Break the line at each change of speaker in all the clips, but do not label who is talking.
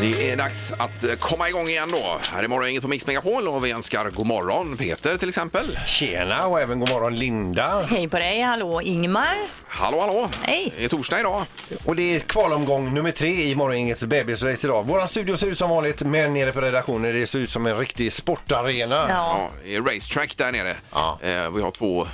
Det är dags att eh, komma igång igen då. Här är morgon, inget på Mix Megapol och vi önskar god morgon Peter till exempel.
Tjena och även god morgon Linda.
Hej på dig, hallå Ingmar.
Hallå hallå!
Hej.
Det är torsdag idag.
Och det är kvalomgång nummer tre i Morgongängets bebisrace idag. Våran studio ser ut som vanligt men nere på redaktionen det ser ut som en riktig sportarena.
Ja.
Ja, det är racetrack där nere.
Ja.
Eh, vi har två eh,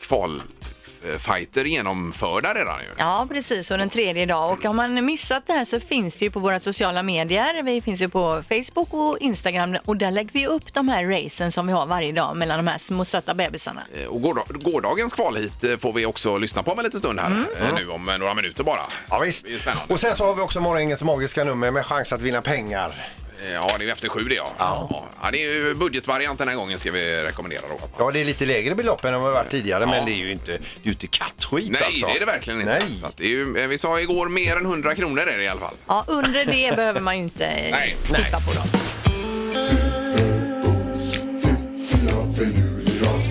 kvalfighter genomförda redan ju.
Ja, precis. Och den tredje idag. Och har man missat det här så finns det ju på våra sociala medier. Vi finns ju på Facebook och Instagram och där lägger vi upp de här racen som vi har varje dag mellan de här små söta bebisarna.
Eh, Och gårda- gårdagens kvalhit eh, får vi också lyssna på om en liten stund här eh, nu om eh, några minuter bara.
Mm. Ja, visst.
Det är ju spännande.
Och sen så har vi också Morgongängets magiska nummer med chans att vinna pengar.
Eh, Ja, det är ju efter sju det ja. Ja. ja. Det är ju budgetvariant den här gången ska vi rekommendera då.
Ja, det är lite lägre belopp än vad det varit tidigare men det är ju inte, det är ju inte kattskit
Nej,
alltså.
det är det verkligen inte.
Nej.
Så att det är ju, eh, vi sa igår mer än 100 kronor är det i alla fall.
Ja, under det behöver man ju inte
Nej,
tippa på dem.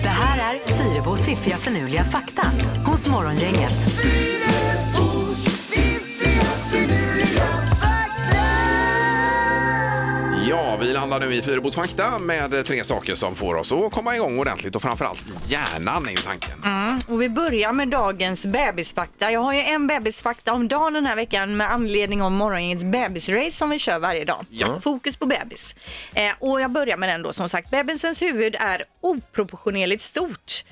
Det här är Fyrabos fiffiga förnuliga fakta hos Morgongänget.
Ja, vi landar nu i Fyrebos fakta med eh, tre saker som får oss att komma igång ordentligt och framförallt hjärnan är ju tanken.
Och vi börjar med dagens bebisfakta. Jag har ju en bebisfakta om dagen den här veckan med anledning av morgonens bebisrace som vi kör varje dag.
Ja.
Fokus på bebis. Eh, och jag börjar med den då som sagt. Bebisens huvud är oproportionerligt stort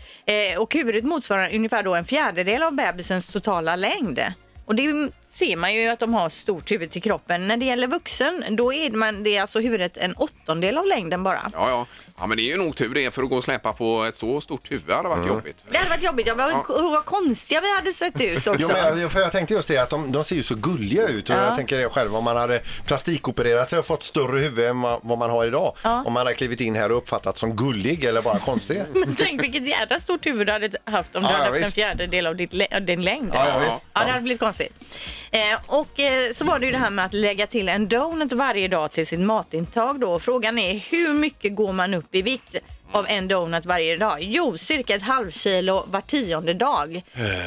eh, och huvudet motsvarar ungefär då en fjärdedel av bebisens totala längd. Och det ser man ju att de har stort huvud till kroppen. När det gäller vuxen, då är man, det är alltså huvudet en åttondel av längden bara.
Ja, ja. ja, men det är ju nog tur det för att gå och släpa på ett så stort huvud hade
Mm.
varit jobbigt.
Det hade varit jobbigt. Jag var, Vad konstiga vi hade sett ut också.
Jo, men jag, för jag tänkte just det att de, de ser ju så gulliga ut och jag tänker det själv om man hade plastikopererat sig och fått större huvud än vad, vad man har idag. Om man hade klivit in här och uppfattats som gullig eller bara konstig.
Men tänk vilket jädra stort huvud du hade haft om du
Ja,
hade
ja,
haft en
visst.
fjärdedel av ditt lä- av din längd.
Ja, ja,
Ja.
ja.
Ja, det hade blivit konstigt. Eh, och eh, så var det ju det här med att lägga till en donut varje dag till sitt matintag då. Frågan är hur mycket går man upp i vikt av en donut varje dag? Jo, cirka ett halvkilo var tionde dag.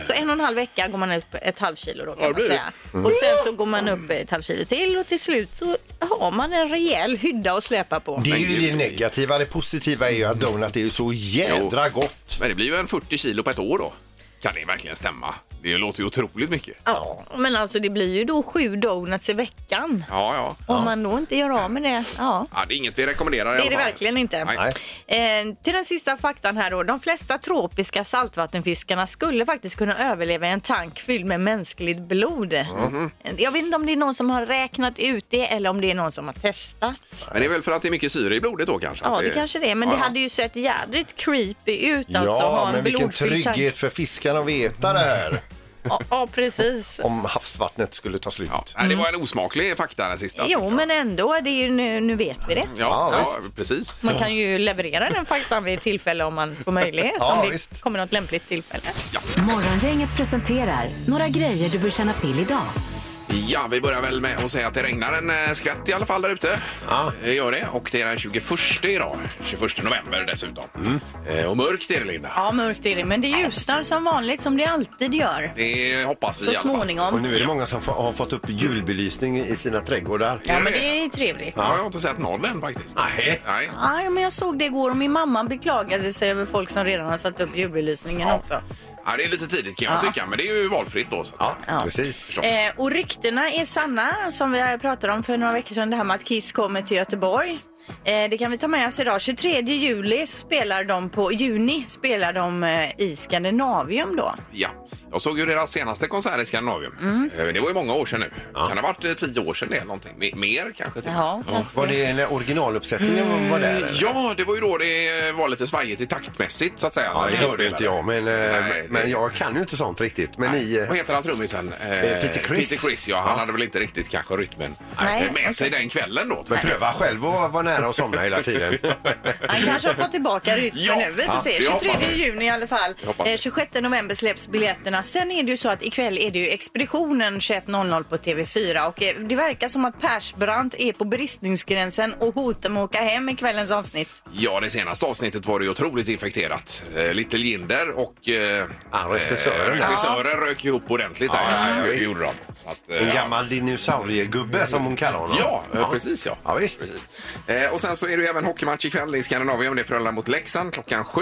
Så en och en halv vecka går man upp ett halvkilo då kan man
blir det. Mm.
säga.
Och sen så går man upp ett halvt kilo till och till slut så har man en rejäl hydda att släpa på.
Det är ju det negativa. Det positiva är ju att donut är ju så jädra gott.
Men det blir ju en 40 kilo på ett år då. Kan det verkligen stämma? Det låter ju otroligt mycket.
Ja, men alltså det blir ju då sju donuts i veckan.
Ja, ja.
Om man då inte gör av med det. Ja.
ja det är inget vi rekommenderar i
Det är
alla
det
fall.
verkligen inte.
Nej.
Eh, till den sista faktan här då. De flesta tropiska saltvattenfiskarna skulle faktiskt kunna överleva i en tank fylld med mänskligt blod. Jag vet inte om det är någon som har räknat ut det eller om det är någon som har testat.
Men det är väl för att det är mycket syre i blodet då kanske?
Ja,
Att
det kanske det är. Men
Ja,
det
ja.
hade ju sett jädrigt creepy ut alltså. att
Ja,
ha en
men vilken
blodfylld tank.
trygghet för fiskarna att veta det här.
Ja, ja precis.
Om havsvattnet skulle ta slut.
Ja. Nej, det var en osmaklig fakta den sista.
Jo, men ändå. Det är ju, nu, nu vet vi det.
Ja,
Ja,
ja, precis.
Man kan ju leverera den faktan vid tillfälle om man får möjlighet.
Ja,
om det
visst.
Kommer något lämpligt tillfälle.
Morgongänget presenterar några grejer du bör känna till idag.
Ja, vi börjar väl med att säga att det regnar en eh, skvätt i alla fall där ute.
Ja.
Det gör det. Och det är den 21 idag. 21 november dessutom.
Mm.
Eh, Och mörkt är det, Linda.
Ja, mörkt är det. Men det ljusnar som vanligt, som det alltid gör.
Det hoppas vi
Så
i alla fall.
Och
småningom.
nu är det många som fa- har fått upp julbelysning i sina trädgårdar.
Ja, men det är ju trevligt.
Ja, jag har inte sett någon än faktiskt.
Nej.
Nej.
Aj, men jag såg det igår och min mamma beklagade sig över folk som redan har satt upp julbelysningen också.
Ja, det är lite tidigt kan jag tycka, men det är ju valfritt då. Så att säga.
Ja, precis.
Förstås.
Eh, och ryktena är sanna, som vi pratade om för några veckor sedan, det här med att Kiss kommer till Göteborg. Eh, Det kan vi ta med oss idag. 23 juli spelar de på, juni spelar de eh, i Skandinavium då.
Ja, jag såg ju deras senaste konsert i Skandinavien. Eh, Det var ju många år sedan nu. Kan det ha varit eh, tio år sedan det eller någonting? Me- Mer kanske typ. till och med.
Ja, kanske.
Var det eh, när originaluppsättningen var- var där? eller?
Ja, det var ju då det eh, var lite svajigt i taktmässigt så att säga.
Ja,
när
det hörde ju inte jag, men, eh,
Nej, det-
men jag kan ju inte sånt riktigt. Men ni... eh,
Vad heter han trummisen? Eh,
Peter Criss.
Peter Criss, ja. Han hade väl inte riktigt kanske rytmen
Nej,
eh, med sig den kvällen då.
Men pröva själv att vara nära och somna hela tiden.
Han kanske har fått tillbaka rytmen
Ja,
nu. Vi får
ja,
se.
det hoppas
23
vi.
juni i alla fall.
Det hoppas
Eh,
vi.
26 november släpps biljetterna. Sen är det ju så att ikväll är det ju Expeditionen 21.00 på TV4 och eh, det verkar som att Persbrandt är på bristningsgränsen och hotar med att åka hem i kvällens avsnitt.
Ja, det senaste avsnittet var det ju otroligt infekterat. Eh, Little Jinder och eh,
Ja, regissören.
eh, regissören rök ju upp ordentligt där.
Ja, ja,
det
visst.
gjorde de. Så att, eh,
En
ja.
gammal dinosauriegubbe som hon kallar honom.
Ja, eh, precis ja.
Ja, visst.
Precis. Eh, och sen så är det ju även hockeymatch ikväll i Skandinavien. Det är Frölunda mot Leksand klockan sju.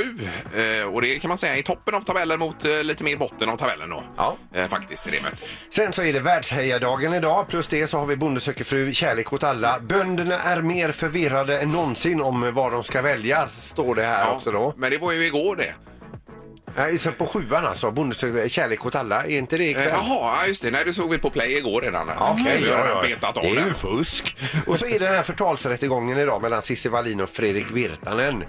Eh, och det kan man säga i toppen av tabellen mot eh, lite mer botten av tabellen då.
Ja.
Eh, faktiskt, i det mötet.
Sen så är det världshejadagen idag. Plus det så har vi Bonde söker fru, kärlek åt alla. Bönderna är mer förvirrade än någonsin om vad de ska välja, står det här också då.
Men det var ju igår det.
Nej, så på sjuan alltså. Bonde söker kärlek åt alla. Är inte det
Eh,
ikväll?
Jaha, ja, just det. Nej, du såg vi på play igår redan.
Ja, okej,
vi har
ja,
redan
ja.
betat av
Det är
den.
ju fusk. Och så är det den här förtalsrättegången idag mellan Cissi Wallin och Fredrik Virtanen.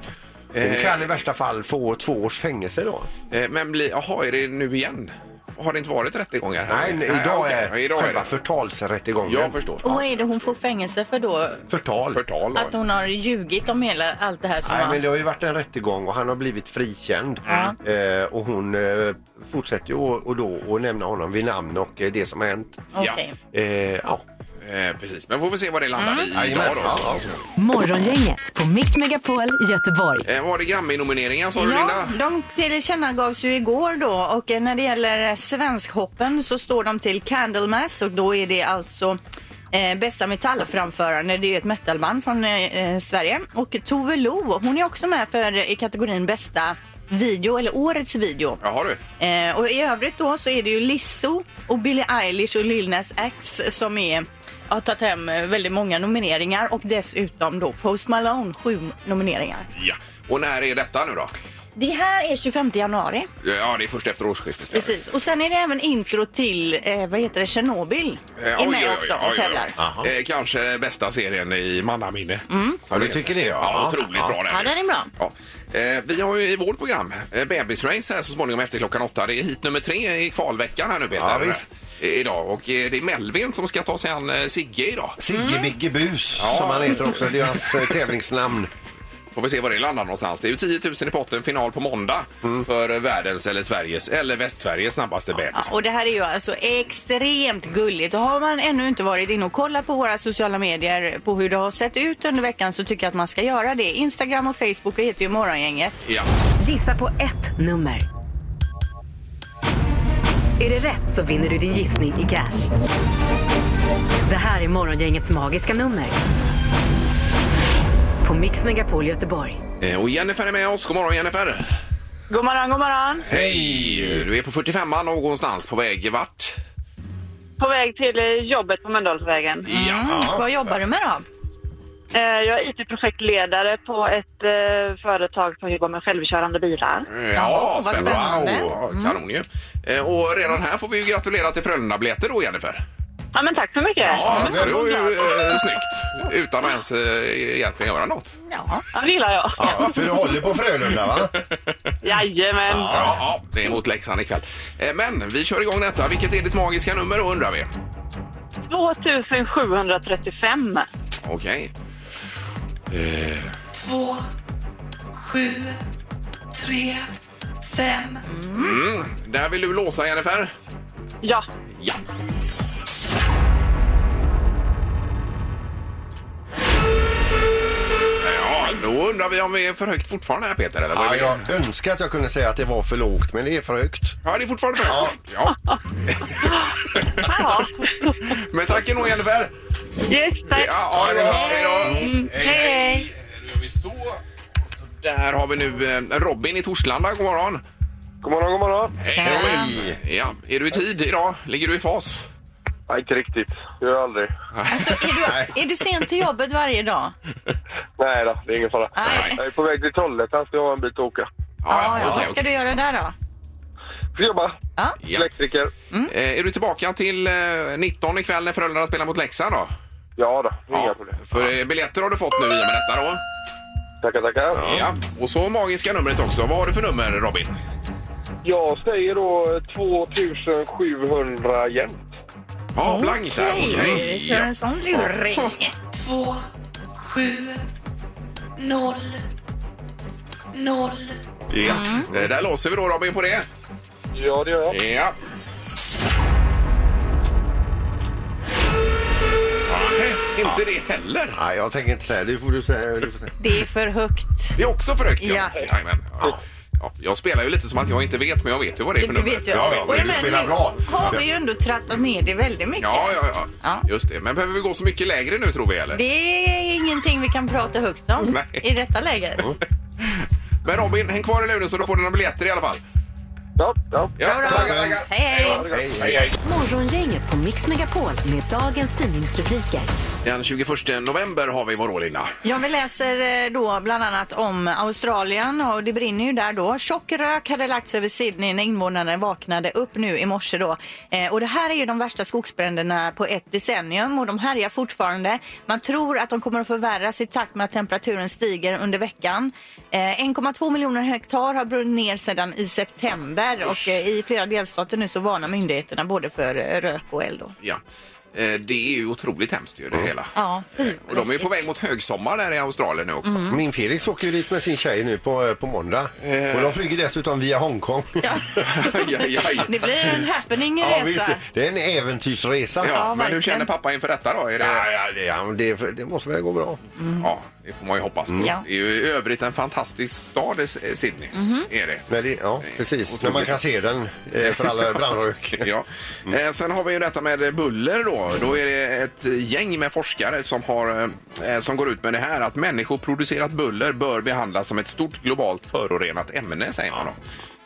Hon kan i värsta fall få två års fängelse då.
Eh, Men bli, jaha, är det nu igen? Har det inte varit rättegångar? här?
Nej, idag
okej.
är
Ja, idag
själva
är det.
förtalsrättegången.
Jag förstår.
Och vad är det hon får fängelse för då?
Förtal.
Förtal. då.
Att hon har ljugit om hela, allt det här som
Nej,
var...
men det har ju varit en rättegång och han har blivit frikänd. Eh, och hon eh, fortsätter ju och, och då att nämna honom vid namn och eh, det som har hänt.
Ja.
Okej.
Eh, ja.
Eh, precis, men får vi se vad det landar i idag
Mm. Jajamän.
då.
Ja, ja.
Morgongänget på Mix Megapol Göteborg.
Eh, var det Grammy-nomineringar sa du
Ja,
Linda?
de tillkännagavs ju igår då och eh, när det gäller eh, svenskhoppen så står de till Candlemass och då är det alltså eh, bästa metallframförande. Det är ju ett metalband från eh, eh, Sverige. Och Tove Lo, hon är också med för eh, i kategorin bästa video eller årets video.
Jaha du.
Eh, och i övrigt då så är det ju Lizzo och Billie Eilish och Lil Nas X som är har tagit hem eh, väldigt många nomineringar och dessutom då Post Malone sju nomineringar.
Ja. Och när är detta nu då?
Det här är 25 januari.
Ja, det är först efter årsskiftet. ja.
Precis. Och sen är det även intro till, eh, vad heter det, Tjernobyl.
Eh,
är
oj,
med
oj, oj,
också
oj,
och
oj, oj.
tävlar.
Aha. Eh, kanske bästa serien i mannaminne. Mm.
Ja, du tycker det, ja.
ja otroligt bra den.
Ja, den är bra.
Ja. Eh, vi har ju i vårt program eh, bebisrace här så småningom efter klockan åtta. Det är hit nummer tre i kvalveckan här nu Peter.
Ja, visst.
Eh, Idag. Och eh, det är Melvin som ska ta sig an eh, Sigge idag.
Sigge Bigge Bus som han heter också. Det är hans eh, tävlingsnamn.
Får vi se var det landar någonstans. Det är ju 10 000 i potten, final på måndag
Mm.
för världens eller Sveriges eller Västsveriges snabbaste
Ja,
bebis.
och det här är ju alltså extremt gulligt. Och har man ännu inte varit inne och kollat på våra sociala medier på hur det har sett ut under veckan så tycker jag att man ska göra det. Instagram och Facebook heter ju Morgongänget.
Ja.
Gissa på ett nummer. Är det rätt så vinner du din gissning i cash. Det här är Morgongängets magiska nummer. På Mix Megapol Göteborg.
Eh, Och Jennifer är med oss. God morgon Jennifer!
God morgon, god morgon.
Hej! Du är på 45an någonstans på väg vart?
På väg till eh, jobbet på Mölndalsvägen.
Ja.
Mm. Vad jobbar du med då?
Eh, Jag är IT-projektledare på ett eh, företag som jobbar med självkörande bilar.
Ja,
Jaha, vad spännande.
Wow, kanon ju. Eh, Och redan här får vi ju gratulera till Frölunda-biljetter då Jennifer.
Ja, men tack så mycket.
Ja, så det var ju eh, snyggt. Utan att ens eh, egentligen göra något.
Ja.
Ja, det gillar jag.
Ja, för du håller på Frölunda va?
Jajamän.
Ja, ja, det är mot Leksand ikväll. Eh, Men vi kör igång detta. Vilket är ditt magiska nummer då undrar vi?
2735.
Okej. Eh.
två, sju, tre, fem.
Mm, Där vill du låsa Jennifer?
Ja.
Ja. Ja, då undrar vi om vi är för högt fortfarande här Peter, eller? vad är
Ja,
vi?
jag önskar att jag kunde säga att det var för lågt men det är för högt.
ja, det är fortfarande för högt. Ja.
ja.
Men tack ändå Jennifer!
Yes,
Ja,
tack.
ja, det är bra. Hej då!
Mm, hej, hej.
Nu gör vi så. Och så Där har vi nu eh, Robin i Torslanda. God morgon!
God morgon, god morgon.
Hej Robin! Ja, är du i tid idag? Ligger du i fas?
Nej, inte riktigt. Det gör jag aldrig.
Alltså, är, du, är du sen till jobbet varje dag?
Nej då, det är ingen fara.
Nej.
Jag är på väg till Trollhättan, ska jag ha en bit att åka.
Ja, ja. Vad ska du göra där då?
Får jobba. Elektriker.
Eh, Är du tillbaka till eh, 19 ikväll när Frölunda spelar mot Leksand då?
Ja då, inga problem.
För eh, biljetter har du fått nu i och med detta då.
Tackar, tackar.
Ja. Och så magiska numret också. Vad har du för nummer Robin?
Jag säger då eh, 2700 jämnt.
Ja, blankt där.
Okej,
Okej.
kör en sån luring.
Ja.
1, 2, 7, 0, 0.
Ja. Eh, Där låser vi då Robin på det.
Ja, det gör jag.
Ja. Nej, inte det heller.
Nej, jag tänker inte säga det. får du säga. Du får säga.
Det är för högt.
Det är också för högt.
Ja.
Jajamän. Ja. Ja, jag spelar ju lite som att jag inte vet, men jag vet ju vad det är för
Du
nummer.
vet ju.
Ja,
Och
ja,
jag menar, nu Har vi ju ändå trattat ner det väldigt mycket.
Ja, ja, ja, Just det. Men behöver vi gå så mycket lägre nu tror vi eller?
Det är ingenting vi kan prata högt om
Nej.
i detta läget.
Men Robin, häng kvar i luren så du får dina biljetter i alla fall.
Ja, ja.
ja tackar, tackar.
Hej, hej!
Morgongänget på Mix Megapol med dagens tidningsrubriker.
Den 21 november har vi vår år, Linda.
Ja, vi läser eh, då bland annat om Australien och det brinner ju där då. Tjock rök hade lagts över Sydney när invånarna vaknade upp nu i morse då. Eh, och det här är ju de värsta skogsbränderna på ett decennium och de härjar fortfarande. Man tror att de kommer att förvärras i takt med att temperaturen stiger under veckan. Eh, 1,2 miljoner hektar har brunnit ner sedan i september och eh, i flera delstater nu så varnar myndigheterna både för eh, rök och eld då.
Ja. Eh, Det är ju otroligt hemskt ju det hela.
Mm. Ja, fy.
Och de är ju på väg mot högsommar där i Australien nu också.
Mm.
Min Felix åker ju dit med sin tjej nu på, eh, på måndag. Och de flyger dessutom via Hongkong.
Aj, aj, aj.
Det blir en happening
Ja,
resa.
visst. Det är en äventyrsresa.
Ja, men hur känner pappa inför detta då? Är det...
Ja, ja, det, ja, men det, det måste väl gå bra.
Ja, det får man ju hoppas på.
Mm. Ja. Mm-hmm.
Det är ju i övrigt en fantastisk stad, eh, Sydney. Är det.
Men det ja, precis. Men man kan se den eh, för alla brandrök.
Ja. Eh, sen har vi ju detta med buller då. Då är det ett gäng med forskare som, har, eh, som går ut med det här att människoproducerat buller bör behandlas som ett stort globalt förorenat ämne, säger man då.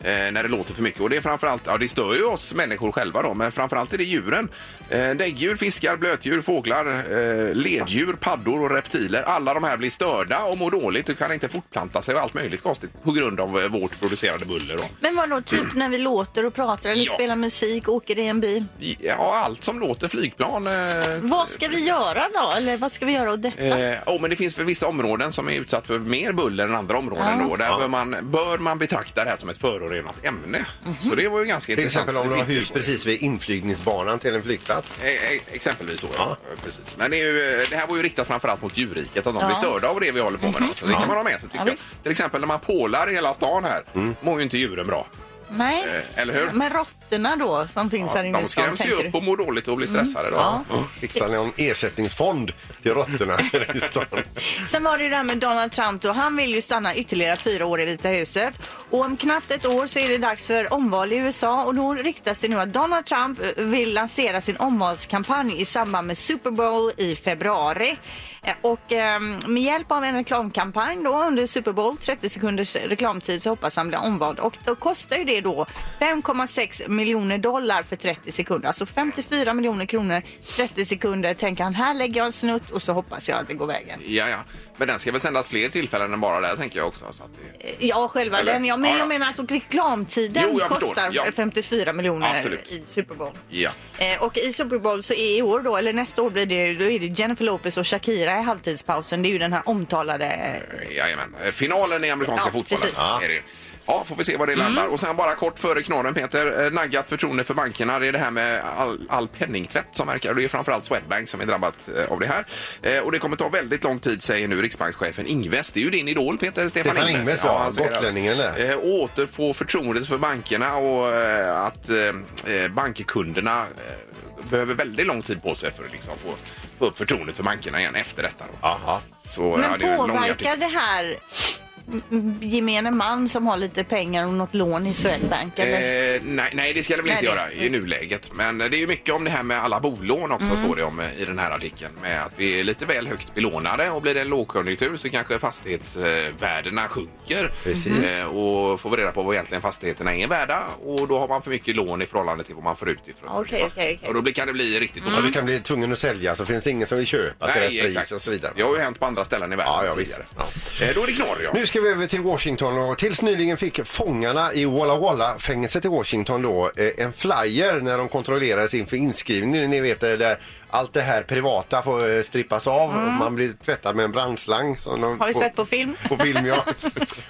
Eh, när det låter för mycket. Och det är framförallt, ja det stör ju oss människor själva då, men framförallt är det djuren. Eh, däggdjur, fiskar, blötdjur, fåglar, eh, leddjur, paddor och reptiler. Alla de här blir störda och mår dåligt och kan inte fortplanta sig och allt möjligt konstigt på grund av eh, vårt producerade buller. Då.
Men vadå, typ när vi låter och pratar eller
Ja.
spelar musik och åker i en bil?
Ja, allt som låter flygplan. Eh,
Vad ska vi göra då? Eller vad ska vi göra åt detta?
Eh, oh, men det finns för vissa områden som är utsatt för mer buller än andra områden.
Ja.
Då. Där bör, man, bör man betrakta det här som ett förorenat ämne.
Mhm.
Så det var ju ganska
Till
intressant.
exempel om du har
Vilket-
hus precis vid inflygningsbanan till en flygplats.
Eh, eh, Exempelvis så, ja. Precis. Men det, är ju, eh, det här var ju riktat framförallt mot djurriket, att de
Ja. Mhm.
blir störda av det vi håller på med. Då. Så det kan man ha med sig, tycker jag. Till exempel när man pålar i hela stan här,
Mm.
mår ju inte djuren bra.
Nej.
eh, eller hur?
Men råttorna då som finns här inne i
de
stan,
skräms ju
tänker
upp
du? Mm.
och mår dåligt och blir stressade. Då.
Fixar ni någon ersättningsfond till råttorna i stan?
Sen var det ju det här med Donald Trump då. Han vill ju stanna ytterligare fyra år i Vita huset. Och om knappt ett år så är det dags för omval i USA och då ryktas det nu att Donald Trump eh, vill lansera sin omvalskampanj i samband med Super Bowl i februari. Eh, Och ehm, med hjälp av en reklamkampanj då under Super Bowl, 30 sekunders reklamtid, så hoppas han bli omvald. Och då kostar ju det då 5,6 miljoner dollar för 30 sekunder. Alltså 54 miljoner kronor, 30 sekunder. Tänker han, här lägger jag en snutt och så hoppas jag att det går vägen.
Ja, ja. Men den ska väl sändas fler tillfällen än bara där, tänker jag också. Så att det...
Ja, själva
Eller?
den. Ja, men
Ja, ja.
jag menar att och reklamtiden
Jo, jag förstår.
kostar
Ja.
54 miljoner
Absolut.
i Super Bowl.
Ja.
Eh, och i Super Bowl så är i år då, eller nästa år blir det, då är det Jennifer Lopez och Shakira i halvtidspausen. Det är ju den här omtalade...
Jajamän. Finalen i amerikanska
Ja,
fotbollen.
precis. Mm.
Är det. Ja, får vi se var det landar. Och sen bara kort före knorren, Peter. eh, Naggat förtroende för bankerna. Det är det här med all, all penningtvätt som verkar. Det är framförallt Swedbank som är drabbat eh, av det här. Eh, och det kommer ta väldigt lång tid, säger nu riksbankschefen Ingves. Det är ju din idol, Peter. Stefan,
Stefan Ingves, ja,
han säger att,
gotlänningen där.
Eh, återfå förtroendet för bankerna och eh, att eh, eh, bankkunderna eh, behöver väldigt lång tid på sig för att liksom, få, få upp förtroendet för bankerna igen efter detta. Då.
Aha.
Så, ja,
Men
det är en lång
påverkar
artikel.
det här m- gemene man som har lite pengar och något lån i Swedbank? Eller?
Eh, nej, nej, det ska det väl inte
Nej,
göra i nuläget. Men det är ju mycket om det här med alla bolån också, står det om eh, i den här artikeln. Med att vi är lite väl högt belånade och blir det en lågkonjunktur så kanske fastighetsvärdena sjunker.
Precis.
Eh, och får vi reda på vad egentligen fastigheterna är värda och då har man för mycket lån i förhållande till vad man får ut ifrån.
Okej, okej, okej.
Och då blir- kan det bli riktigt
Mm. Du kan bli tvungen att sälja så finns det ingen som vill köpa till rätt pris och så vidare.
Det har ju hänt på andra ställen i världen
Ja, ja,
tidigare. Eh, Då är det knorr, ja.
Nu ska vi över till Washington och tills nyligen fick fångarna i Walla Walla fängelset i Washington då eh, en flyer när de kontrollerades inför inskrivningen. Ni vet eh, där allt det här privata får eh, strippas av. Man blir tvättad med en brandslang. Som de
Mm. Har vi
får-
sett på film?
På film ja.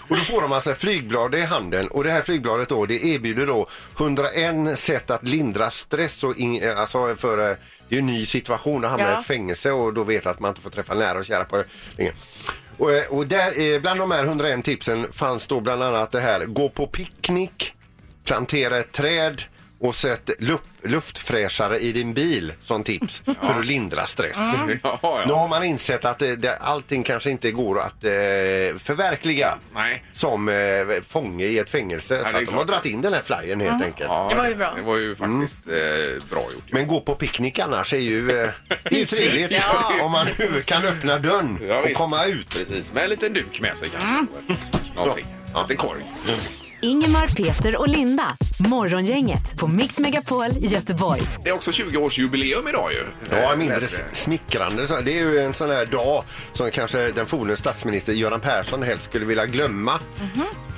Och då får de alltså ett flygblad i handen och det här flygbladet då det erbjuder då 101 sätt att lindra stress och in, eh, alltså för eh, det är ju en ny situation att hamna i
Ja.
ett fängelse och då vet att man inte får träffa nära och kära på länge. Och, eh, och där, eh, bland de här 101 tipsen fanns då bland annat det här gå på picknick, plantera ett träd och sätt luft, luftfräschare i din bil som tips för att lindra stress.
Mm. Ja, ja.
Nu har man insett att det, det, allting kanske inte går att eh, förverkliga som eh, fånge i ett fängelse.
det
så
är
att de
klart.
har dragit in den här flyern helt
Mm.
enkelt.
Ja, Det var ju bra. det var
Mm.
ju faktiskt eh, bra gjort.
Men gå på picknick annars är ju, eh, det är ju
Mysigt,
trevligt
ja.
om man nu kan öppna dörren
Ja,
och
visst.
komma ut. Mm.
Precis, med en liten duk med sig kanske. Någonting. En liten korg.
Ingemar, Peter och Linda. Morgongänget på Mix Megapol Göteborg.
Det är också 20-årsjubileum idag ju. Eh,
Ja, mindre smickrande. Så Det är ju en sån här dag som kanske den forne statsminister Göran Persson helst skulle vilja glömma.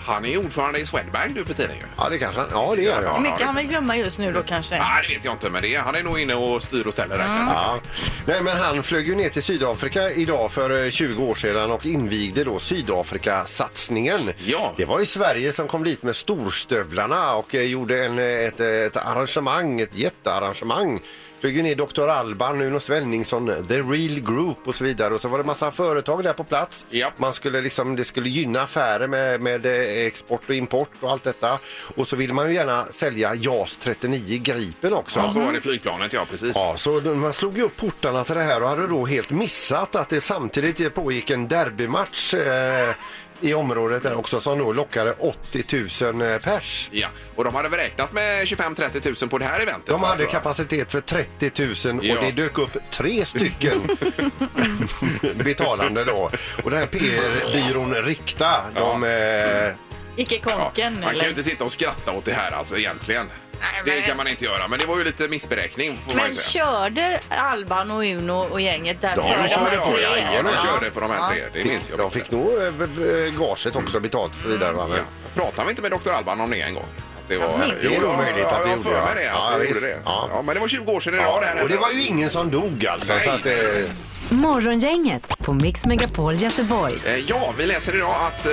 Han är ju ordförande i Swedbank nu för tiden ju.
Ja, det kanske han. Ja, det gör
Hur
jag.
mycket han vill glömma just nu då kanske?
Nej, det vet jag inte, men det är, han är nog inne och styr och ställer där kan jag
Ja. Nej, men han flög ju ner till Sydafrika idag för eh, 20 år sedan och invigde då Sydafrika-satsningen. Ja. Det var ju Sverige som kom dit med storstövlarna och eh, gjorde en, eh, ett, eh, ett arrangemang, ett jättearrangemang. Flög ju ner Dr. Alban, Uno Svenningsson, The Real Group och så vidare. Och så var det massa företag där på plats. Man skulle liksom, det skulle gynna affärer med, med eh, export och import och allt detta. Och så ville man ju gärna sälja JAS 39 Gripen också.
Ja, så var det flygplanet, ja precis.
Mm. Ja, så de- man slog ju upp portarna till det här och hade då helt missat att det samtidigt pågick en derbymatch eh, i området där också som då lockade 80 000 eh, pers.
Ja, och de hade väl räknat med 25-30 000 på det här eventet?
De
va,
hade
tror jag.
kapacitet för 30 000 och
Ja.
det dök upp tre stycken betalande då. Och den här PR-byrån Rikta, de... Eh,
Icke konken
Man kan
eller?
ju inte sitta och skratta åt det här alltså egentligen. Det kan man inte göra, men det var ju lite missberäkning får man
Men
ju säga.
körde Alban och Uno och gänget där för de här
ja,
tre?
ja, ja, de körde för de här tre,
Ja.
det minns jag.
De fick nog eh, b- gaget också betalt och så vidare. Va?
Ja. Pratade vi inte med Dr. Alban om det en gång? Att det, var,
men- Det är nog möjligt att vi
jag
gjorde,
har
va?
för mig det.
Ja,
Att vi
visst.
gjorde det.
Ja.
Ja. men det var 20 år sedan idag det
Ja,
här
och det
hände.
var ju ingen som dog alltså.
Nej.
Så att, eh,
Morgongänget på Mix Megapol Göteborg.
Eh, Ja, vi läser idag att eh,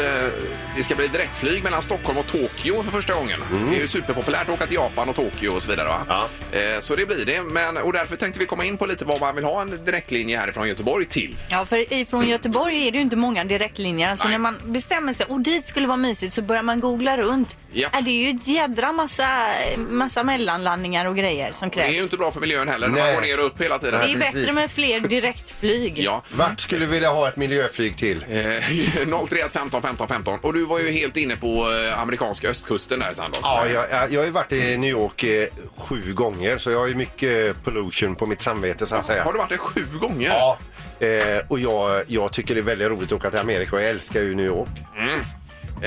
det ska bli direktflyg mellan Stockholm och Tokyo för första gången.
Mm.
Det är ju superpopulärt att åka till Japan och Tokyo och så vidare. Va? Eh, så det blir det. Men, och därför tänkte vi komma in på lite vad man vill ha en direktlinje härifrån Göteborg till.
Ja, för ifrån Göteborg är det ju inte många direktlinjer. Så
Nej.
när man bestämmer sig, och dit skulle vara mysigt, så börjar man googla runt.
Ja.
Är det är ju ett jädra massa, massa mellanlandningar och grejer som
Det är ju
krävs.
inte bra för miljön heller när man
Nej.
går ner och upp hela
Det
tiden.
är bättre med fler direktflyg.
Ja.
Vart skulle du vilja ha ett miljöflyg till?
Eh, 031 15 15 15. Och du var ju helt inne på eh, amerikanska östkusten där Sandholt.
Ja, jag, jag, jag har ju varit i New York eh, sju gånger så jag har ju mycket eh, pollution på mitt samvete så att säga.
Har du varit där sju gånger?
Ja, eh, och jag, jag tycker det är väldigt roligt att åka till Amerika och jag älskar ju New York.
Mm.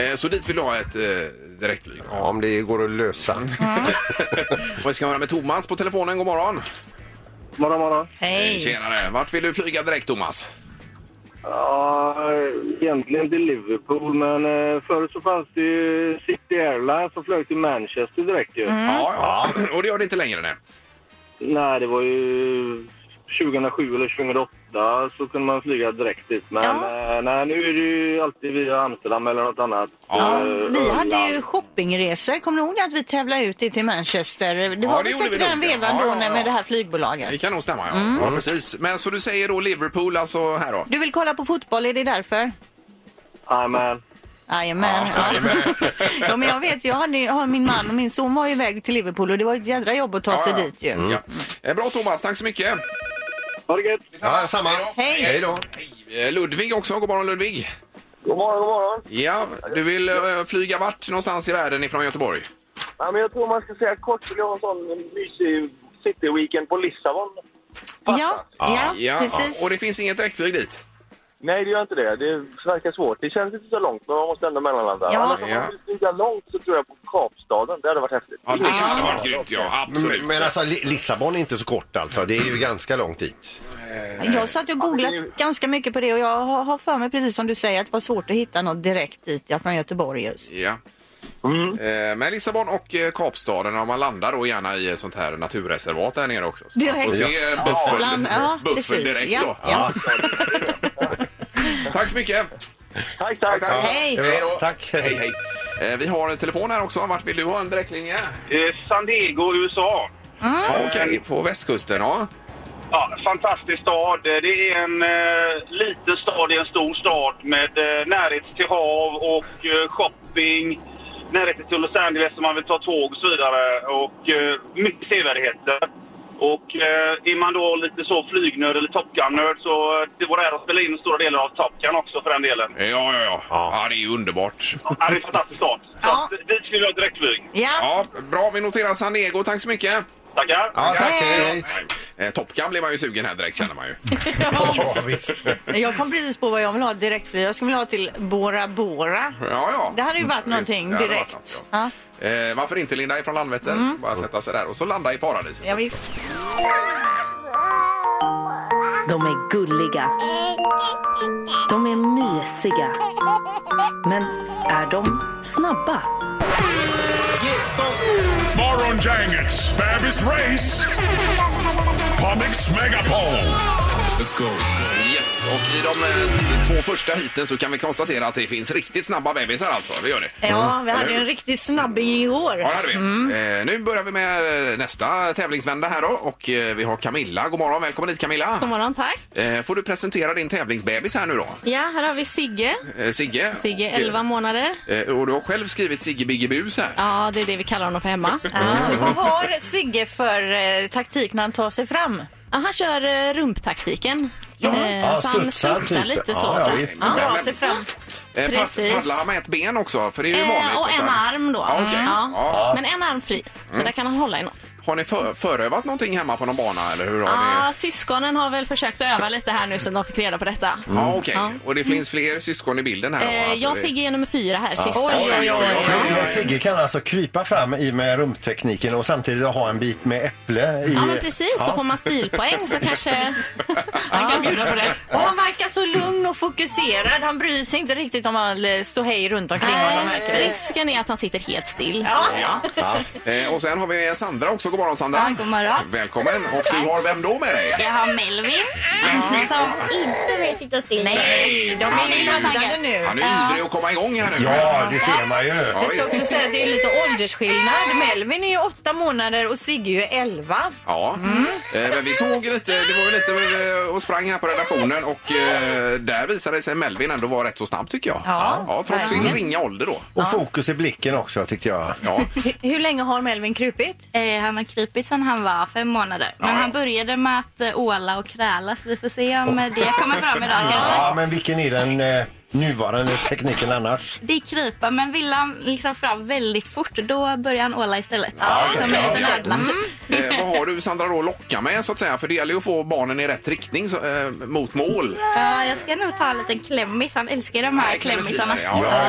Eh, så dit vill du ha ett eh, direktflyg?
Ja, om det går att lösa.
Och vi ska höra med Thomas på telefonen. God morgon!
Morgon, morgon.
Hej! Tjenare! Vart vill du flyga direkt, Thomas?
Ja, egentligen till Liverpool, men eh, förut så fanns det ju City Airlines som flög till Manchester direkt ju.
Mm.
Mm.
Ja, ja. Och det gör det inte längre, nej.
Nej, det var ju 2007 eller 2008 så kunde man flyga direkt dit. Men eh, nej, nu är det ju alltid via Amsterdam eller något annat.
Ja,
eh,
vi
Öland.
hade ju shoppingresor. Kommer ni ihåg det att vi tävlade ut det till Manchester? Det
Ja,
var
det
väl
gjorde
säkert
vi
den
nog.
vevan
Ja,
då
ja,
när-
ja.
med det här flygbolaget.
Det kan nog stämma, ja.
Mm.
ja precis. Men så du säger då Liverpool, alltså här då?
Du vill kolla på fotboll, är det därför?
Jajamän.
Jajamän. Ja, ja, men jag vet, jag hade, ja, min man och min son var ju iväg till Liverpool och det var ett jädra jobb att ta sig dit ju.
Ja. Eh, Bra, Thomas. Tack så mycket.
Ha det gött!
Ja, samma.
Hej då. Hej. Eh, Ludvig också. God morgon, Ludvig.
God morgon, god morgon.
Ja, du vill eh, flyga vart någonstans i världen ifrån Göteborg?
Ja, men jag tror man ska säga kort vill jag ha en sån mysig cityweekend på Lissabon.
Ja, ja,
Och det finns inget direktflyg dit?
Nej, det gör inte det. Det verkar svårt. Det känns inte så långt, men man måste ändå mellanlanda.
Ja.
Annars om
Ja.
man vill flyga långt så tror jag på Kapstaden. Det hade varit häftigt.
Ja, det hade varit grymt, ja. Absolut.
Men, men alltså, Li- Lissabon är inte så kort alltså. Det är ju ganska långt dit.
Jag satt och googlat ganska mycket på det och jag har har för mig precis som du säger att det var svårt att hitta något direkt dit ja, från Göteborg just.
Ja.
Mm.
Eh, Men Lissabon och eh, Kapstaden, om man landar då gärna i ett sånt här naturreservat där nere också. Så man
Direkt.
får se
Ja.
buffel,
Land- ja,
buffel
precis.
direkt
Ja,
då.
ja.
Tack så mycket!
Tack, tack!
Hej.
Hej då.
Tack!
Hej, hej. Eh, Vi har en telefon här också. Vart vill du ha en direktlinje?
San Diego, USA.
Ah.
Ja, Okej, på västkusten. Ja.
Ja, fantastisk stad. Det är en eh, liten stad i en stor stad med eh, närhet till hav och eh, shopping, närhet till Los Angeles om man vill ta tåg och så vidare och eh, mycket sevärdheter. Och eh, är man då lite så flygnörd eller Top Gun-nörd så eh, det var det här att spela in stora delar av Top Gun också för den delen.
Ja, ja, ja. Ja, det är ju underbart.
Ja, det är en fantastisk stad. Så att, dit skulle jag ha ett direktflyg.
Ja, bra, vi noterar San Diego. Tack så mycket.
Tackar!
Ja, tack! Hej.
Hej. Eh, Top Gun blir man ju sugen här direkt känner man ju.
Ja, visst.
Jag kom precis på vad jag vill ha direktflyg. Jag skulle vilja ha till Bora Bora.
Ja, ja.
Det hade ju varit någonting
Mm, det hade varit
direkt.
något,
ja. Mm.
Eh, varför inte Linda ifrån Landvetter? Bara sätta sig där och så landa i paradiset.
Ja, visst.
De är gulliga. De är mysiga. Men är de snabba?
Morgongänget, Babys Race, Pomix Megapol. Let's go.
Yes, och i de eh, två första hiten så kan vi konstatera att det finns riktigt snabba bebisar alltså. Det gör det.
Ja, Mm. vi
Eller
hade ju
hur?
en riktig snabbing igår.
Ja, det hade vi. Eh, nu börjar vi med eh, nästa tävlingsvända här då och eh, vi har Camilla. God morgon, välkommen hit Camilla.
God morgon, tack.
Eh, får du presentera din tävlingsbebis här nu då?
Ja, här har vi Sigge.
Eh, Sigge.
Sigge,
Och, eh,
11 månader.
Eh, och du har själv skrivit Sigge Bigge Bus här.
Ja, det är det vi kallar honom för hemma.
Vad har Sigge för eh, taktik när han tar sig fram?
Ja, han kör eh, rumptaktiken. Eh,
Ja,
så han
studsar
studsar
typ.
lite så.
Ja, ja,
så att
visst.
han
Men-
drar
men-
sig fram.
Eh, pa-
Precis.
Paddlar han med ett ben också? För det är ju vanligt.
Eh, och
att
en
han-
arm då. Mm,
Ja, okej.
Ja.
Ja.
Men en arm fri, så
Mm.
där kan han hålla i något.
Har ni för, förövat någonting hemma på någon bana eller hur har ni?
Ja, syskonen har väl försökt att öva lite här nu så de fick reda på detta.
Ja, okej. Och det finns fler syskon i bilden här? då,
Mm. Eh,
alltså,
jag och
det-
Sigge är nummer fyra här,
Ja.
sista.
Men Sigge kan alltså krypa fram i med rumptekniken och samtidigt ha en bit med äpple i...
Ja, men precis. Så
Ja.
får man stilpoäng så kanske han kan bjuda på det.
Och han verkar så lugn och fokuserad. Han bryr sig inte riktigt om all eh, ståhej runt omkring honom. verkar det.
Eh, Risken är att han sitter helt still.
Ja. Eh, och sen har vi Sandra också. God morgon Sandra.
Ja, god morgon.
Välkommen. Och du har vem då med dig?
Jag har Melvin som inte vill sitta still.
Nej, de
Han är ju- Han är
Ja.
ivrig att komma igång här nu.
Ja, det ser man ju.
Ja,
Jag ska också
visst.
säga att det är lite åldersskillnad. Melvin är ju åtta månader och Sigge är ju elva.
Ja, Eh, men vi såg lite, det var ju lite eh, och sprang här på redaktionen och eh, där visade det sig Melvin ändå var rätt så snabb tycker jag.
Ja.
trots sin
Verkligen.
ringa ålder då.
Och fokus i blicken också tyckte jag.
Ja.
Hur, hur länge har Melvin krupit?
Eh, han har krypit sedan han var fem månader. Men
Ja, ja.
han började med att eh, åla och kräla så vi får se om eh, det kommer fram idag kanske.
Ja, men vilken är den eh, nuvarande tekniken annars?
Det är krypa, men vill han liksom fram väldigt fort då börjar han åla istället. Som en liten ödla.
Eh, vad har du Sandra då att locka med så att säga? För det gäller ju att få barnen i rätt riktning så, eh, mot mål.
Ja, jag ska nog ta en liten klämmis. Han älskar ju de här klämmisarna.
Ja, ja,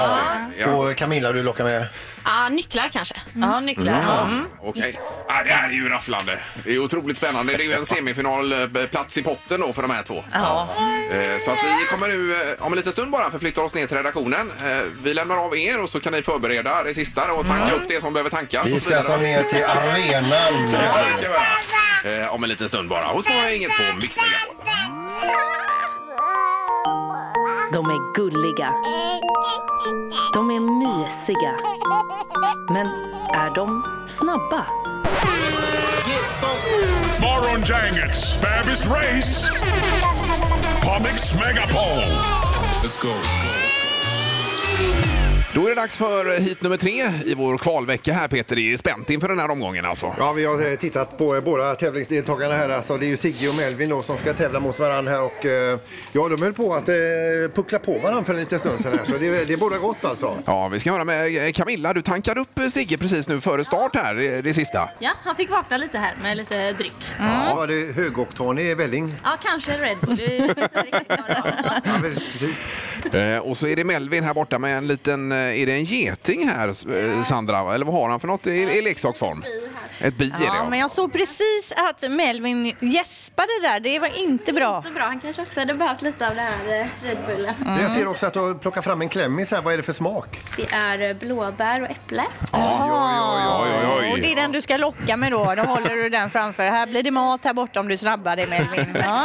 just det.
Och Camilla, du lockar med?
Ja, nycklar kanske.
Ja,
nycklar. Mm. Ja.
Okej. Ah, det här är ju rafflande. Det är otroligt spännande. Det är ju en semifinalplats i potten då för de här två.
Ja.
Eh, Så att vi kommer nu eh, om en liten stund bara förflytta oss ner till redaktionen. Eh, Vi lämnar av er och så kan ni förbereda det sista och tanka upp det som behöver tankas.
Vi
och så
ska alltså
vidare.
ner till arenan.
Ja, det ska vi göra. Eh, Om en liten stund bara. Hos mig inget på Mix Megapol.
De är gulliga. De är mysiga. Men är de snabba?
Morgongänget, Babys Race, Pomix Megapol. Let's go.
Då är det dags för eh, hit nummer tre i vår kvalvecka här Peter. Det är spänt inför den här omgången alltså.
Ja, vi har eh, tittat på eh, båda tävlingsdeltagarna här. Alltså, det är ju Sigge och Melvin då, som ska tävla mot varandra här. Och, eh, ja, de höll på att eh, puckla på varandra för en liten stund sedan här. Så det, det båda gott alltså.
Ja, vi ska höra med eh, Camilla. Du tankade upp eh, Sigge precis nu före start här, eh, det, det sista.
Ja, han fick vakna lite här med lite dryck.
Ja, det är högoktanig välling.
Ja, kanske en Red Bull. Det är inte riktigt vad det var.
Eh, och så är det Melvin här borta med en liten, eh, är det en geting här s- eh, Sandra? Eller vad har han för något i, i leksaksform? Ett bi är det
Ja, men jag såg precis att Melvin gäspade där. Det var inte bra.
Inte bra. Han kanske också hade behövt lite av den här eh, Red Bullen.
Mm.
Jag ser också att du har plockat fram en klämmis här. Vad är det för smak?
Det är eh, blåbär och äpple.
Ja, Och det är den du ska locka med då. Då håller du den framför. Här blir det mat här borta om du snabbar dig Melvin. Ja.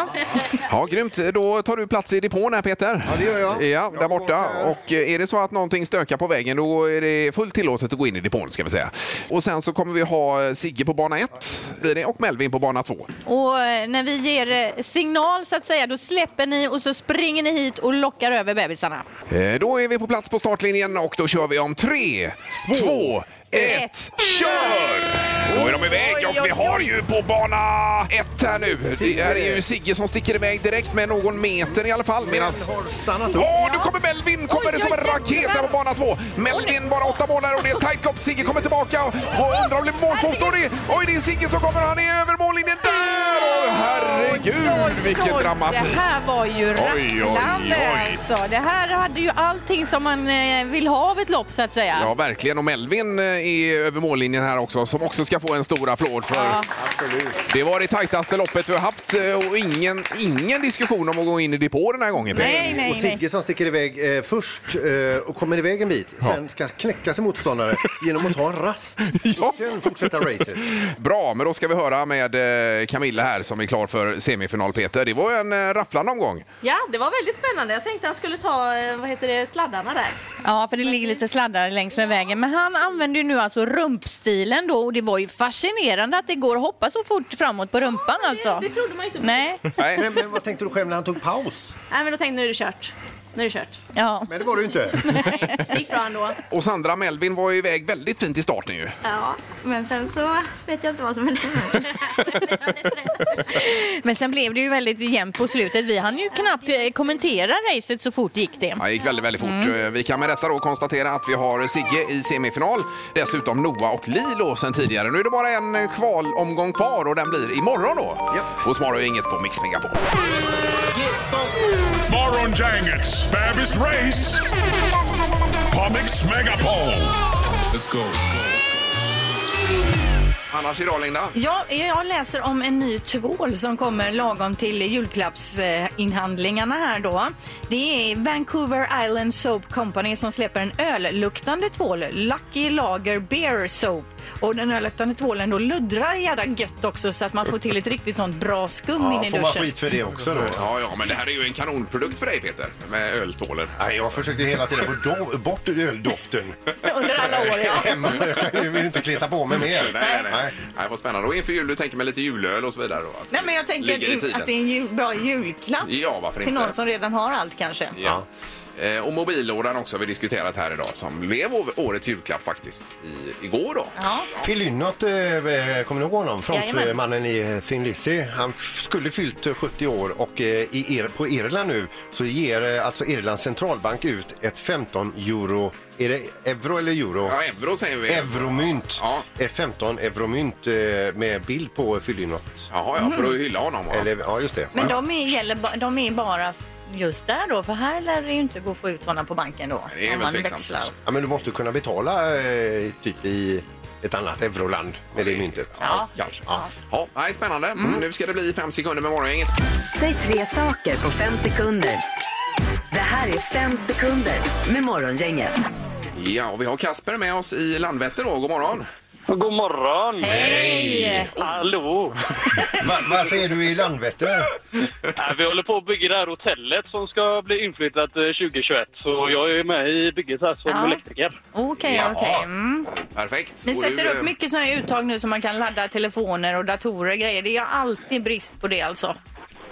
Ja, grymt. Då tar du plats i depån här Peter. Ja, det gör jag. Ja, där borta. Och eh, är det så att någonting stökar på vägen då är det fullt tillåtet att gå in i depån ska vi säga. Och sen så kommer vi ha eh, Sigge på bana 1 blir det och Melvin på bana 2.
Och eh, när vi ger eh, signal så att säga, då släpper ni och så springer ni hit och lockar över bebisarna.
Eh, Då är vi på plats på startlinjen och då kör vi om 3, 2, 1, kör! Då är de iväg och vi har ju på bana 1 här nu. Det här är ju Sigge som sticker iväg direkt med någon meter i alla fall. Medan...
Stannat
Åh, nu kommer Melvin! Kommer det som en raket där på bana 2. Melvin bara åtta månader och det är ett tajt lopp. Sigge kommer tillbaka och och undrar om det blir målfoto. Och det- Oj, det är Sigge som kommer. Han är över mållinjen där! Åh, herregud, vilken
Oj,
dramatik!
Det här var ju
Oj, oj,
rafflande
oj.
alltså. Det här hade ju allting som man eh, vill ha av ett lopp så att säga.
Ja, verkligen. Och Melvin eh, är över mållinjen här också, som också ska få en stor applåd för. Det var det tajtaste loppet vi har haft eh, och ingen, ingen diskussion om att gå in i depå den här gången. Peter.
och Sigge som sticker iväg eh, först eh, och kommer iväg en bit. Sen ska knäcka sin motståndare genom att ta en rast. Och sen fortsätta racet.
Bra, men då ska vi höra med eh, Camilla här som är klar för semifinal, Peter. Det var en eh, rafflande omgång.
Ja, det var väldigt spännande. Jag tänkte han skulle ta, eh, vad heter det, sladdarna där.
Ja, för det ligger lite sladdar längs med vägen. Men han använder ju nu alltså rumpstilen då och det var ju fascinerande att det går att hoppa så fort framåt på rumpan alltså.
Det trodde man ju inte på.
Nej.
Men, men vad tänkte du själv när han tog paus?
Nej, men då tänkte jag, nu är det kört. Nu är det kört.
Ja.
Men det var du inte.
Det gick bra ändå.
Och Sandra Melvin var ju iväg väldigt fint i starten ju.
Ja, men sen så vet jag inte vad som hände.
Men sen blev det ju väldigt jämnt på slutet. Vi hann ju knappt eh, kommentera racet så fort gick det.
Ja, Det gick väldigt, väldigt fort.
Mm.
Eh, Vi kan med detta då konstatera att vi har Sigge i semifinal. Dessutom Noah och Lilo sen tidigare. Nu är det bara en eh, kvalomgång kvar och den blir imorgon då. Hos Morgon inget på Mix Megapol.
Morgongänget, Babys race på Mix Megapol. Let's go.
Annars idag Linda?
Ja, jag läser om en ny tvål som kommer lagom till julklappsinhandlingarna här då. Det är Vancouver Island Soap Company som släpper en ölluktande tvål, Lucky Lager Beer Soap. Och den ölluktande tvålen då luddrar jädra gött också så att man får till ett riktigt sånt bra skum in i duschen.
för det också då?
Ja, ja, men det här är ju en kanonprodukt för dig Peter, med öltvålen.
Nej, jag försökte hela tiden få do- bort öldoften.
Under alla år, ja.
Hemma. Jag vill inte kleta på mig mer.
Nej, nej, nej. nej vad spännande. Och inför jul, du tänker med lite julöl och så vidare? Då, att
Nej men jag
det ligger i
tänker
tiden.
att det är en ju- bra julklapp
Ja, varför
till
inte?
någon som redan har allt kanske.
Ja. Eh, Och mobillådan också har vi diskuterat här idag som blev å- årets julklapp faktisst i, igår då.
Phil Lynott, eh, kommer ni ihåg honom? Frontmannen i eh, Thin Lizzy. Han f- skulle fyllt eh, 70 år och eh, i er, på Irland nu så ger eh, alltså Irlands centralbank ut ett 15 euro, är det euro eller euro?
Ja, euro säger vi.
Euromynt. Ett 15 euromynt eh, med bild på Phil Lynott.
Jaha, ja, för
Mm.
att hylla honom. Alltså.
Eller, ja, just det.
Men
Ja.
de är, gäller, ba- de är bara just där då, för här lär det ju inte gå att få ut sådana på banken då.
Det är
om
väl
man
tveksamt.
växlar.
Ja, men du måste kunna betala eh, typ i ett annat euroland med det myntet.
Ja, kanske. Ja. Ja, nej, spännande. Mm,
Mm.
Nu ska det bli fem sekunder med morgongänget.
Säg tre saker på fem sekunder. Det här är fem sekunder med Morgongänget.
Ja, och vi har Kasper med oss i Landvetter då. God morgon!
God morgon!
Eh,
Hej! Hallå!
varför är du i Landvetter?
Äh, vi håller på att bygga det här hotellet som ska bli inflyttat eh, 2021. Så jag är med i bygget här som
Ja.
elektriker.
Okej,
Jaha.
okej. Mm.
Perfekt.
Ni
Och
sätter
du,
upp
eh,
mycket sådana här uttag nu som man kan ladda telefoner och datorer och grejer. Det är alltid brist på det alltså.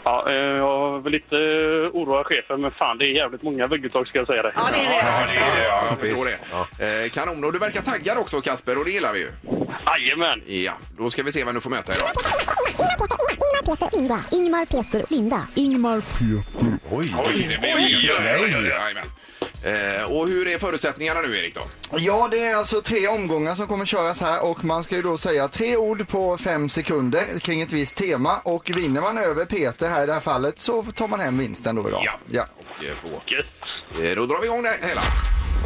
Ja, eh, jag vill inte eh, oroa chefen, men fan det är jävligt många vägguttag ska jag säga dig. Ja, det är det.
Ja, det är det. Ja, jag förstår det. Eh, kanon. Och du verkar taggad också, Kasper, och det gillar vi ju.
Jajamän.
Ja, då ska vi se vem du får möta idag.
Ingmar, Peter, Linda. Ingmar, Peter, Linda. Ingmar.
Peter. Oj, oj, det blir
Oj,
oj, oj, oj, jajamän. Eh, Och hur är förutsättningarna nu, Erik? då?
Ja, det är alltså tre omgångar som kommer köras här och man ska ju då säga tre ord på fem sekunder kring ett visst tema och vinner man över Peter här i det här fallet så tar man hem vinsten då idag. Ja.
Eh, få. Eh, Då drar vi igång det hela.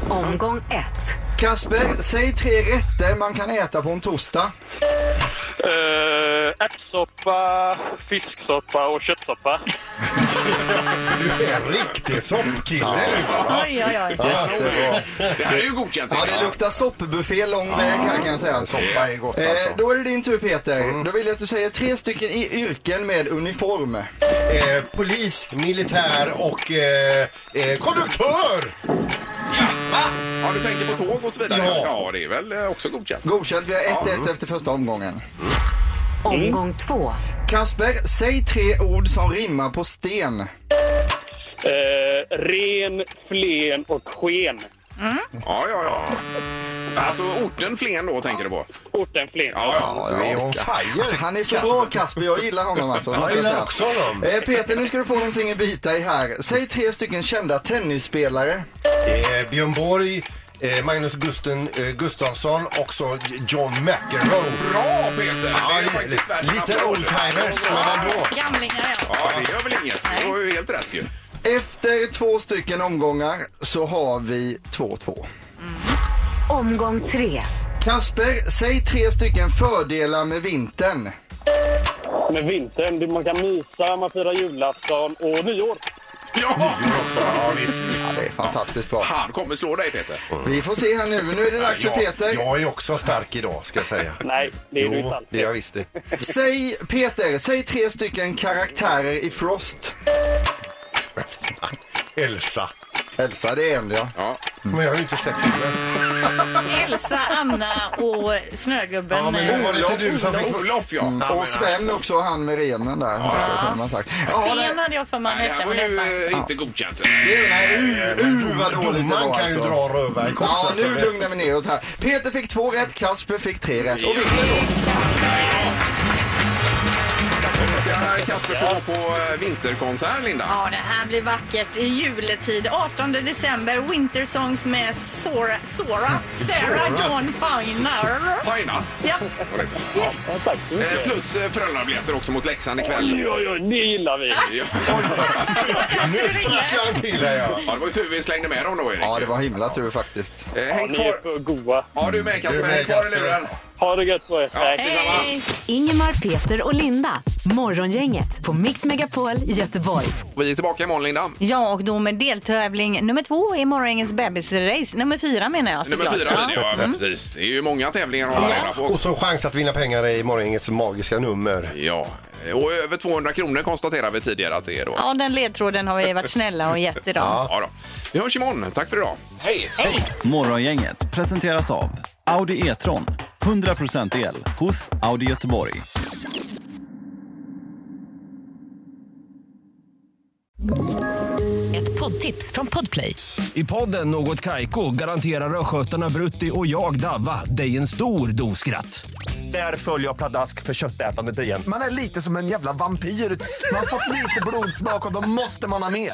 Omgång ett. Kasper, säg tre rätter man kan äta på en torsdag.
Eh, ärtsoppa, fisksoppa och köttsoppa.
Du är en riktig soppkille nu va?
Oj, oj, oj.
Ja, det är bra.
Det här är ju godkänt.
Ja, det luktar soppbuffé lång väg här kan jag säga.
Soppa är gott
Eh,
alltså.
Då är det din tur Peter. Då vill jag att du säger tre stycken i yrken med uniform.
Eh, polis, militär och eh, eh, konduktör!
Ja, du tänker på tåg och så vidare? Ja, det är väl eh, också godkänt.
Godkänt, vi har 1-1 efter första omgången.
Omgång två.
Kasper, säg tre ord som rimmar på sten.
Eh, ren, flen och sken.
Ja, ja, ja. Alltså orten Flen då tänker du på?
Orten Flen.
Ja, ja.
Ja,
vi
ja.
orkar.
Alltså, han är så bra Kasper, jag gillar honom alltså.
Jag
måste
gillar
säga.
också honom.
Eh, Peter, nu ska du få någonting att bita i här. Säg tre stycken kända tennisspelare.
Eh, Björn Borg, eh, Magnus Gusten, eh, Gustafsson och så John McEnroe.
Bra Peter!
Ja,
det är faktiskt värt en
lite
applåd.
old-timers, men ändå.
Gamlingar, ja.
Ja, det gör väl inget. Det var ju helt rätt ju.
Efter två stycken omgångar så har vi 2-2.
Omgång tre.
Kasper, säg tre stycken fördelar med vintern.
Med vintern, det- man kan mysa, man firar julafton och nyår.
Mm,
Ja! Ja, visst.
det är fantastiskt bra.
Han kommer slå dig Peter.
Vi får se här nu. Nu är det dags för
Ja,
Peter.
Jag är också stark idag ska jag säga.
Nej,
det är
jo,
du inte alls.
det är jag visst det.
Säg, Peter, säg tre stycken karaktärer i Frost.
Elsa.
Elsa, det är en ja.
ja.
Men jag har ju inte sett filmen.
Elsa, Anna och snögubben.
Ja, men det var lite du som fick-
Olof, ja.
Mm. Och Sven också, han med renen där. Också, kunde man sagt. Ja,
Sten hade jag för mig
Nej, det här var ju eh, inte godkänt.
Uh, vad dåligt det
Domaren
var
kan ju
alltså.
dra röven i kors,
Ja,
alltså.
nu lugnar vi ner oss här. Peter fick två rätt, Kasper fick tre rätt. Och vi
Ska Kasper få gå på eh, vinterkonsert, Linda?
Ja, det här blir vackert i juletid. 18 december, Winter Songs med Sora, Sora, Sarah
Sora.
Dawn Finer.
Fajna.
Ja.
Ja. Eh, Plus eh, Frölundabiljetter också mot Leksand ikväll.
Oj, oj, oj, det gillar vi.
Ja.
Nu sprack han till här ja.
Ja, det var ju tur vi slängde med dem då, Erik.
Ja, det var himla tur faktiskt.
Eh, häng
ni
kvar.
är för goa.
Ja, du är med Kasper.
Du är med,
Häng kvar i
Kasper.
luren.
Ha det gött på er.
Ja,
Ingemar, Peter och Linda. Morgongänget på Mix Megapol Göteborg.
Vi är tillbaka imorgon, Linda.
Ja, och då med deltävling nummer två i morgongängets bebisrace. Nummer fyra menar jag
Nummer
såklart.
fyra blir det, ja. Precis. Det är ju många tävlingar att hålla reda på.
Och så chans att vinna pengar i morgongängets magiska nummer.
Ja, och över 200 kronor konstaterade vi tidigare att det är då.
Ja, den ledtråden har vi varit snälla och gett idag.
Ja då. Vi hörs imorgon. Tack för idag. Hej!
Morgongänget presenteras av Audi E-tron. 100% el hos Audi Göteborg.
Ett poddtips från Podplay.
I podden Något Kaiko garanterar östgötarna Brutti och jag, Davva, dig en stor dos skratt. Där följer jag pladask för köttätandet igen.
Man är lite som en jävla vampyr. Man har fått lite blodsmak och då måste man ha mer.